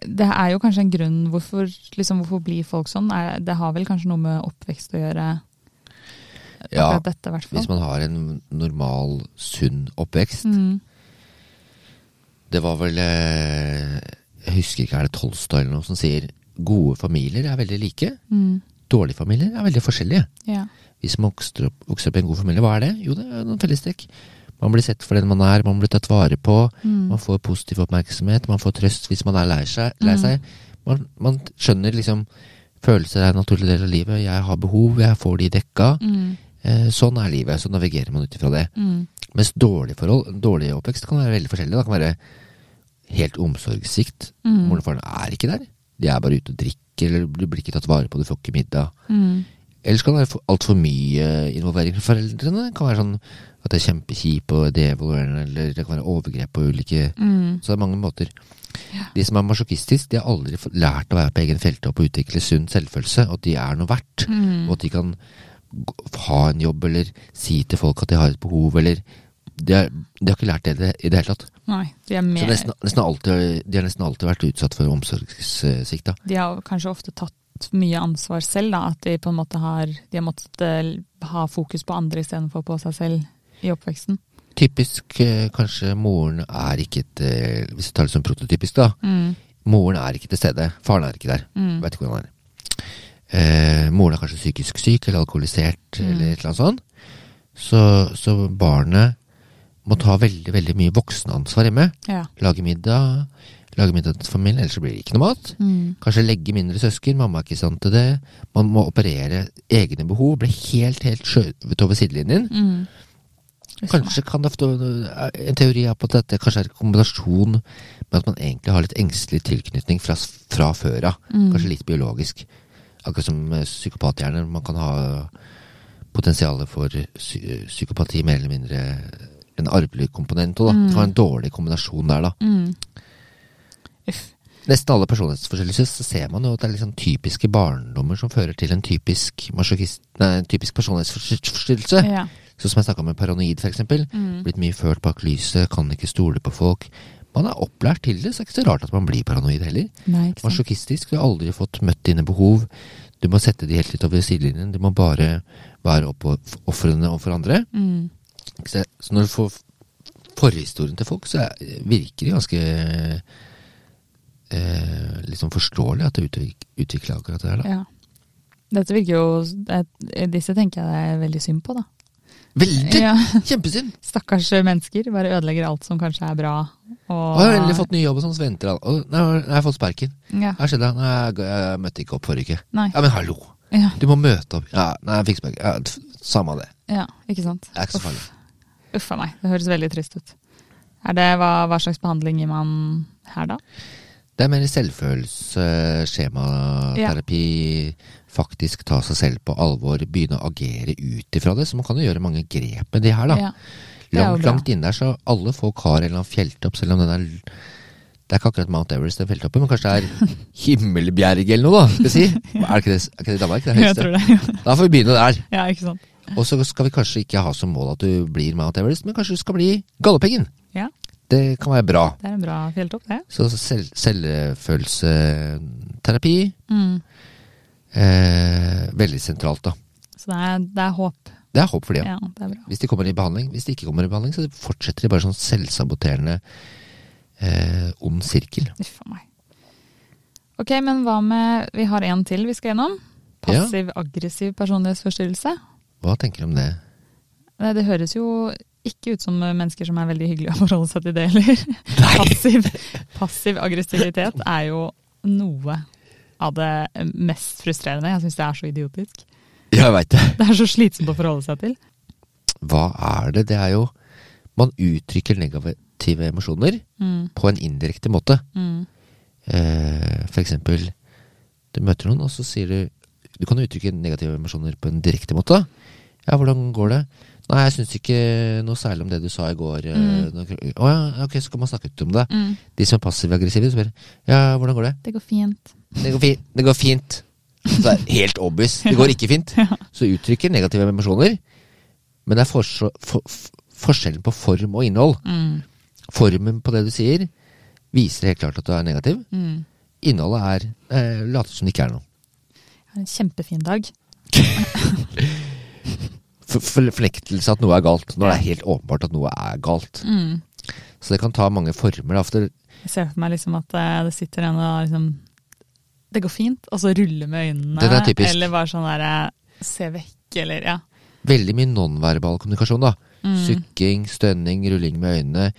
Det er jo kanskje en grunn hvorfor, liksom, hvorfor blir folk sånn? Er, det har vel kanskje noe med oppvekst å gjøre?
Ja,
akkurat dette, i hvert fall.
Hvis man har en normal, sunn oppvekst.
Mm.
Det var vel eh, Jeg husker ikke, er det Tolstoy eller noe som sier gode familier er veldig like.
Mm.
Dårlige familier er veldig forskjellige.
Ja.
Hvis man vokser opp, vokser opp i en god familie, hva er det? Jo, det er noen fellestrekk. Man blir sett for den man er, man blir tatt vare på.
Mm.
Man får positiv oppmerksomhet, man får trøst hvis man er lei seg. Lei
Mm.
seg. Man, man skjønner liksom Følelser er en naturlig del av livet. Jeg har behov, jeg får de dekka.
Mm.
Eh, sånn er livet. Så navigerer man ut ifra det.
Mm.
Mens dårlig forhold, dårlig oppvekst kan være veldig forskjellig. Det kan være helt omsorgssvikt.
Mm.
Moren og faren er ikke der. De er bare ute og drikker, eller du blir ikke tatt vare på, du får ikke middag.
Mm.
Ellers kan det være altfor mye involvering fra foreldrene. Det kan være sånn at det er kjempekjip og devaluerende, eller det kan være overgrep og ulike
Mm.
Så det er mange måter. De som er masjokistiske, de har aldri fått lært å være på egen felttopp og utvikle sunn selvfølelse, og at de er noe verdt.
Mm.
Og at de kan g- ha en jobb, eller si til folk at de har et behov, eller De, er, de har ikke lært det i det, i det hele tatt.
Nei, de er
Så
mer
nesten, nesten alltid, de har nesten alltid vært utsatt for omsorgssvikt. da.
De har kanskje ofte tatt mye ansvar selv, da. At de på en måte har De har måttet eh, ha fokus på andre istedenfor på seg selv i oppveksten.
Typisk eh, kanskje moren er ikke til, Hvis du tar det som prototypisk, da.
Mm.
Moren er ikke til stede. Faren er ikke der.
Mm.
Vet ikke hvordan han er. Eh, moren er kanskje psykisk syk eller alkoholisert
Mm.
eller et eller annet sånt. Så, så barnet må ta veldig veldig mye voksenansvar hjemme.
Ja.
Lage middag, lage middag til familien, ellers så blir det ikke noe mat.
Mm.
Kanskje legge mindre søsken, mamma er ikke i stand til det. Man må operere egne behov, bli helt helt skjøvet over sidelinjen.
Mm. Uff a meg.
Kanskje kan det ofte, En teori er på at dette kanskje er en kombinasjon med at man egentlig har litt engstelig tilknytning fra, fra før av.
Mm.
Kanskje litt biologisk. Akkurat som eh, psykopathjerner. Man kan ha potensialet for psy eh, psykopati mer eller mindre en arvelig komponent òg, da. Det kan være en dårlig kombinasjon der, da.
Mm. Uff.
Nesten alle personlighetsforstyrrelser så ser man jo at det er liksom typiske barndommer som fører til en typisk, masochist- nei, en typisk personlighetsforstyrrelse.
Ja.
Sånn som jeg snakka med paranoid, f.eks.
Mm.
Blitt mye ført bak lyset, kan ikke stole på folk. Man er opplært til det, så det er ikke så rart at man blir paranoid heller.
Nei, ikke sant.
Masjokistisk, du har aldri fått møtt dine behov. Du må sette de helt litt over sidelinjen. Du må bare være ofrene overfor andre.
Mm.
Ikke sant? Så når du får forhistorien til folk, så er- virker det ganske eh, liksom forståelig at det utvikler akkurat det her. Da.
Ja. Dette virker jo det- Disse tenker jeg det er veldig synd på, da.
Veldig!
Ja.
Kjempesynd!
Stakkars mennesker. Bare ødelegger alt som kanskje er bra. Og,
Og jeg har endelig fått ny jobb, og sånn så venter han. Og Nei, jeg har fått sparken.
ja.
Hva skjedde? Nei, jeg, jeg møtte ikke opp forrige uke.
Nei.
Ja, men hallo!
Ja,
Du må møte opp. Ja, nei, jeg fikk sparken. Ja, pff, samme det.
ja, ikke sant.
Det er ikke så farlig.
Uff a meg, det høres veldig trist ut. Er det, hva, hva slags behandling gir man her, da?
Det er mer selvfølelse, skjematerapi, faktisk ta seg selv på alvor, begynne å agere ut ifra det. Så man kan jo gjøre mange grep med det her, da.
Ja. det er jo
langt,
bra.
langt inn der, så alle folk har en eller annen fjelltopp, selv om den er Det er ikke akkurat Mount Everest, den fjelltoppen, men kanskje det er Himmelbjerg eller noe, da, skal vi si. Er det ikke det, er ikke det Danmark? Det er
Jeg
høyeste.
tror det.
Da får vi begynne der.
Ja, ikke sant.
Og så skal vi kanskje ikke ha som mål at du blir Mount Everest, men kanskje du skal bli Galdhøpiggen.
Ja,
Det kan være bra.
det er en bra fjelltopp, det.
Så selv, selvfølelseterapi
Mm.
eh, Veldig sentralt, da.
Så det er, det er håp.
Det er håp for det.
Ja, det er bra.
Hvis de kommer i behandling. Hvis de ikke kommer i behandling, så fortsetter de bare sånn selvsaboterende eh, ond sirkel.
Uff a meg. Ok, men hva med Vi har en til vi skal gjennom.
Ja.
Passiv-aggressiv personlighetsforstyrrelse.
Hva tenker du om det?
Det, det høres jo ikke ut som mennesker som er veldig hyggelige å forholde seg til det heller. Passiv, passiv aggressivitet er jo noe av det mest frustrerende. Jeg syns det er så idiotisk.
Jeg veit det.
Det er så slitsomt å forholde seg til.
Hva er det? Det er jo Man uttrykker negative emosjoner
Mm,
på en indirekte måte.
mm,
Eh, for eksempel, du møter noen, og så sier du Du kan jo uttrykke negative emosjoner på en direkte måte. Ja, hvordan går det? Nei, jeg syns ikke noe særlig om det du sa i går. eh,
Mm.
noe- Å ja, ok, så kan man snakke ut om det.
mm.
De som er passive aggressive, spør ja, hvordan går det?
Det går fint.
Det går fint. Det går fint. Så det er helt obvious. Det går ikke fint. Så uttrykker negative emosjoner. Men det er forse- for, f- forskjellen på form og innhold.
Mm,
Formen på det du sier, viser helt klart at du er negativ.
mm.
Innholdet er eh, later som det ikke er noe.
Jeg har en kjempefin dag.
For- Fornektelse at noe er galt, når det er helt åpenbart at noe er galt.
Mm.
Så det kan ta mange former. da, for det-
Jeg ser for meg liksom at eh, det sitter en og liksom Det går fint, og så rulle med øynene.
Den er typisk.
Eller bare sånn derre se vekk, eller ja.
Veldig mye nonverbal kommunikasjon. da.
Mm.
Sukking, stønning, rulling med øynene.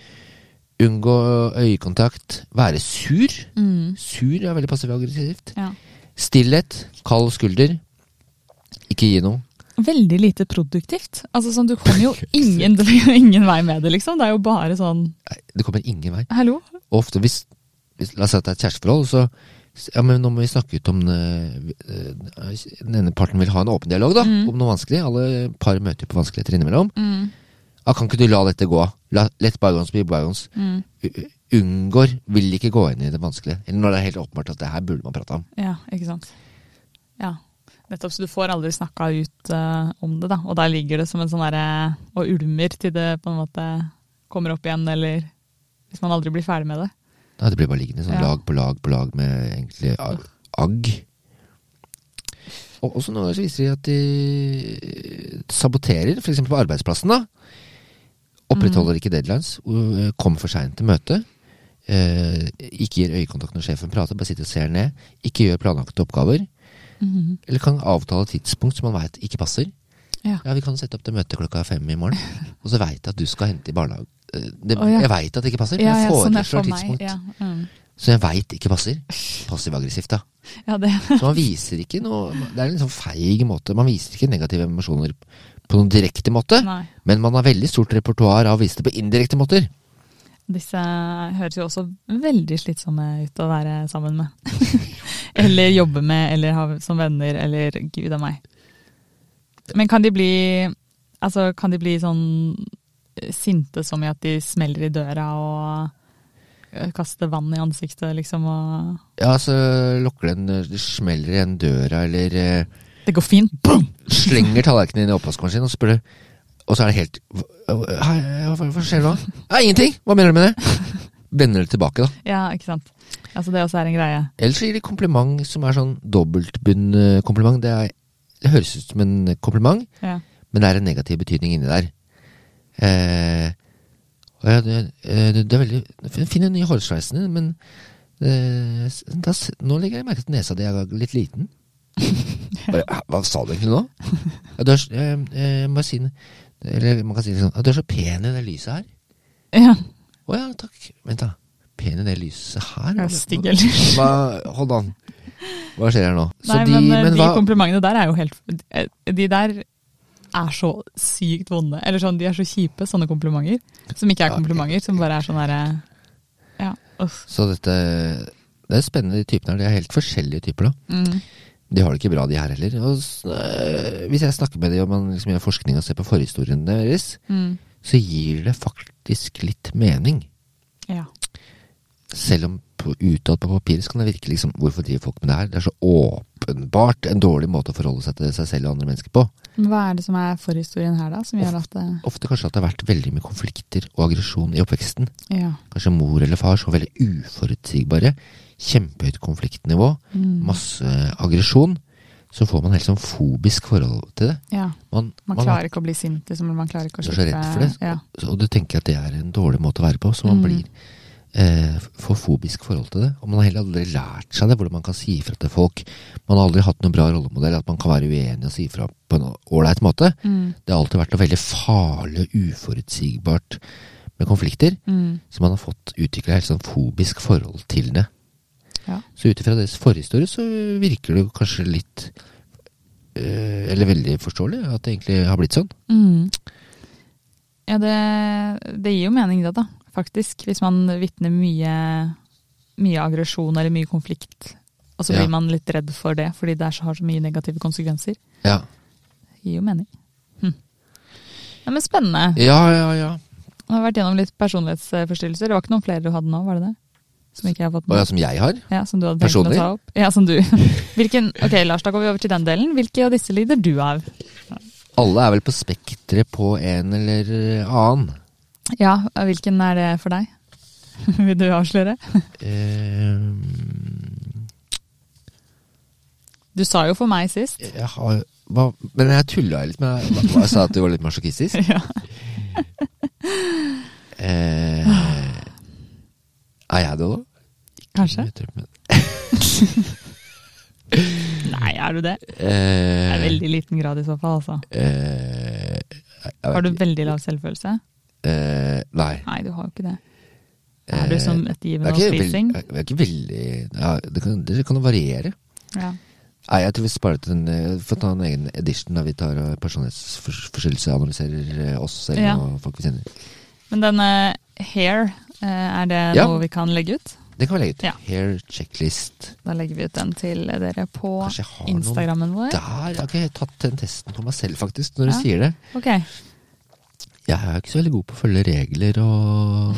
Unngå øyekontakt. Være sur.
Mm.
Sur er veldig passivt aggressivt.
ja.
Stillhet. Kald skulder. Ikke gi noe.
Veldig lite produktivt. Altså sånn, Du kommer jo ingen, det er jo ingen vei med det, liksom. Det er jo bare sånn
Nei, Det kommer ingen vei.
Hallo?
Og ofte hvis, hvis La oss si at det er et kjæresteforhold, så ja, men nå må vi snakke ut om det, eh, Den ene parten vil ha en åpen dialog da, om noe vanskelig. Alle par møter jo på vanskeligheter innimellom.
Mm,
Ja, kan ikke du la dette gå? La, let bygons bli bygons.
mm,
U- Unngår, vil ikke gå inn i det vanskelige. Eller når det er helt åpenbart at det her burde man prate om.
ja, ikke sant. Ja. Nettopp, så du får aldri snakka ut eh, om det, da. Og der ligger det som en sånn derre og ulmer til det på en måte kommer opp igjen, eller hvis man aldri blir ferdig med det.
Nei, det blir bare liggende sånn
Ja.
lag på lag på lag med egentlig ag- agg. Og også noen ganger så viser de at de eh, saboterer, f.eks. på arbeidsplassen. da. Opprettholder
Mm.
ikke deadlines, o- kom for seint til møtet. Eh, ikke gir øyekontakt når sjefen prater, bare sitter og ser ned. Ikke gjør planlagte oppgaver.
Mhm.
Eller kan avtale tidspunkt som man veit ikke passer.
Ja.
Ja, vi kan sette opp det møtet klokka fem i morgen. Og så veit jeg at du skal hente i barnehage. Eh, Det,
Å, ja.
Jeg veit at det ikke passer, men
Ja,
jeg
ja, sånn er
foreslår
for meg.
tidspunkt
Ja, mm.
som jeg veit ikke passer. Passiv-aggressivt, da.
ja, det
Så man viser ikke noe Det er en litt sånn feig måte. Man viser ikke negative emosjoner på noen direkte måte,
Nei.
men man har veldig stort repertoar av å vise det på indirekte måter.
Disse høres jo også veldig slitsomme ut å være sammen med. eller jobbe med, eller ha som venner, eller gud a meg. Men kan de bli Altså, kan de bli sånn eh, sinte som i at de smeller i døra og eh, kaster vann i ansiktet, liksom, og
Ja, så lokker den Det smeller igjen døra, eller eh,
Det går fint! Boom!
slenger tallerkenen inn i oppvaskmaskinen og spør Og så er det helt Hei, hva, hva skjer nå? Nei, ingenting! Hva mener du med det? Vender det tilbake, da.
Ja, ikke sant. Altså, det også er en greie.
Ellers så gir de kompliment som er sånn dobbeltbunn-kompliment. Det, er- det høres ut som en kompliment,
Ja.
men det er en negativ betydning inni der. Eh, og ja, det, eh, det, det er veldig Finn den nye hårsveisen din, men eh, s- da, s- nå legger jeg merke til at nesa di er litt liten. Bare, "Hæ, Hva sa du egentlig nå? Ja, du er, så- eh, eh, man, si, det- eller man kan si det sånn ja, Du er så pen i det lyset her.
Ja.
Å ja, takk. Vent, da. Pen i det lyset her?
Jeg er
Hva-
stygg, eller?
Hva, hold an. Hva skjer her nå? Så
Nei, men, eh, de
hva-
komplimentene der er jo helt eh, De der er så sykt vonde. Eller sånn, de er så kjipe, sånne komplimenter. Som ikke er
Ja,
komplimenter, som bare er sånn derre Ja. uff.
Så dette Det er spennende, de typene her. De er helt forskjellige typer, da.
Mm.
De har det ikke bra, de her heller. Og, s- øh, hvis jeg snakker med dem og man liksom gjør forskning og ser på forhistorien deres,
Mm.
så gir det faktisk litt mening.
Ja.
Selv om på, utad på papiret så kan det virke liksom Hvorfor driver folk med det her? Det er så åpenbart en dårlig måte å forholde seg til seg selv og andre mennesker på.
Men hva er det som er forhistorien her, da? Som gjør at eh, det,
Ofte kanskje at det har vært veldig mye konflikter og aggresjon i oppveksten.
Ja.
Kanskje mor eller far så veldig uforutsigbare. Kjempehøyt konfliktnivå.
Mm.
Masse aggresjon. Så får man helt sånn fobisk forhold til det.
ja.
Man,
Man
man har-
klarer ikke å bli sint, liksom. eller Man klarer ikke å
Du er så redd for det.
Ja.
og du tenker at det er en dårlig måte å være på, så man
Mm.
blir eh, får fobisk forhold til det. Og man har heller aldri lært seg det, hvordan man kan si ifra til folk. Man har aldri hatt noen bra rollemodell, at man kan være uenig og si ifra på en ålreit måte.
Mm.
Det har alltid vært noe veldig farlig og uforutsigbart med konflikter.
Mm.
Så man har fått utvikla et sånn fobisk forhold til det.
Ja.
Så ut ifra deres forhistorie så virker det jo kanskje litt eh, Eller veldig forståelig at det egentlig har blitt sånn.
Mm. Ja, det, det gir jo mening det, da. Faktisk. Hvis man vitner mye, mye aggresjon eller mye konflikt, og så
Ja.
blir man litt redd for det fordi det er så, har så mye negative konsekvenser.
Ja,
Det gir jo mening. Hm. Ja, men spennende.
ja, ja. ja.
Du har vært gjennom litt personlighetsforstyrrelser. Det var ikke noen flere du hadde nå, var det det? Som ikke jeg har fått
Og
med?
ja, som jeg har?
Ja, som du hadde tenkt å
Personlig?
ta opp? Ja, som du. Hvilken, ok, Lars, da går vi over til den delen. Hvilke av disse lider du av?
Alle er vel på spekteret på en eller annen.
Ja, hvilken er det for deg? Vil du avsløre?
Eh,
Du sa jo for meg sist.
jeg har hva, Men jeg tulla litt med hva, hva, Jeg sa at du var litt masjokistisk.
Ja.
Eh, er jeg det òg?
Kanskje? Nei, er du det? Det er
Eh,
veldig liten grad i så fall, altså.
eh, jeg
Har du
vet ikke.
veldig lav selvfølelse?
eh, Nei.
Nei, du har jo ikke det. Er du som et givende
Jeg Eh, er ikke eh.
spising?
veld- jeg er ikke veldig ja, Det kan det kan jo variere.
Ja.
Nei, jeg tror vi sparer til en eh, Får ta en egen edition der vi tar eh, personlighetsforstyrrelse analyserer eh, oss selv
Ja.
og folk vi kjenner.
Men denne hair, eh, er det
Ja.
noe vi kan legge ut?
Det kan vi legge ut.
Ja.
Hair checklist.
Da legger vi ut den til dere på
Kanskje jeg har
Instagrammen vår.
noen der? Jeg har ikke helt tatt den testen på meg selv, faktisk, når du
Ja.
sier det.
Ok,
Jeg er ikke så veldig god på å følge regler og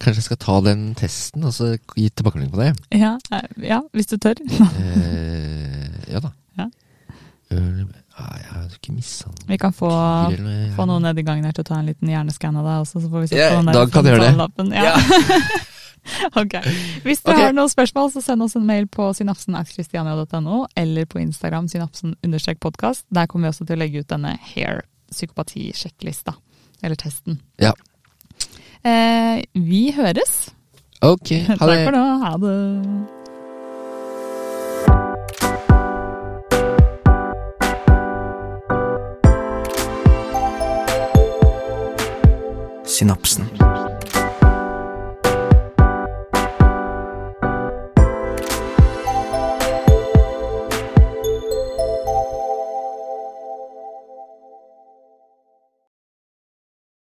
Kanskje jeg skal ta den testen og så gi tilbakemelding på det.
ja, eh, ja hvis du tør.
Eh, ja da.
Ja.
Øl- Nei, jeg har ikke mishandlet
Vi kan få,
dyr eller-
få noen nedi gangen her til å ta en liten hjerneskann av deg også, så får vi se
Ja,
på den der
Dag kan gjøre det.
samtalelappen. Ja. ok. Hvis dere
Ok.
har noen spørsmål, så send oss en mail på synapsen.christiania.no, eller på Instagram synapsen-podkast. Der kommer vi også til å legge ut denne hair-psykopati-sjekklista, eller testen.
Ja.
Eh, vi høres.
Ok,
Takk
ha det.
for nå. Ha det.
Synapsen.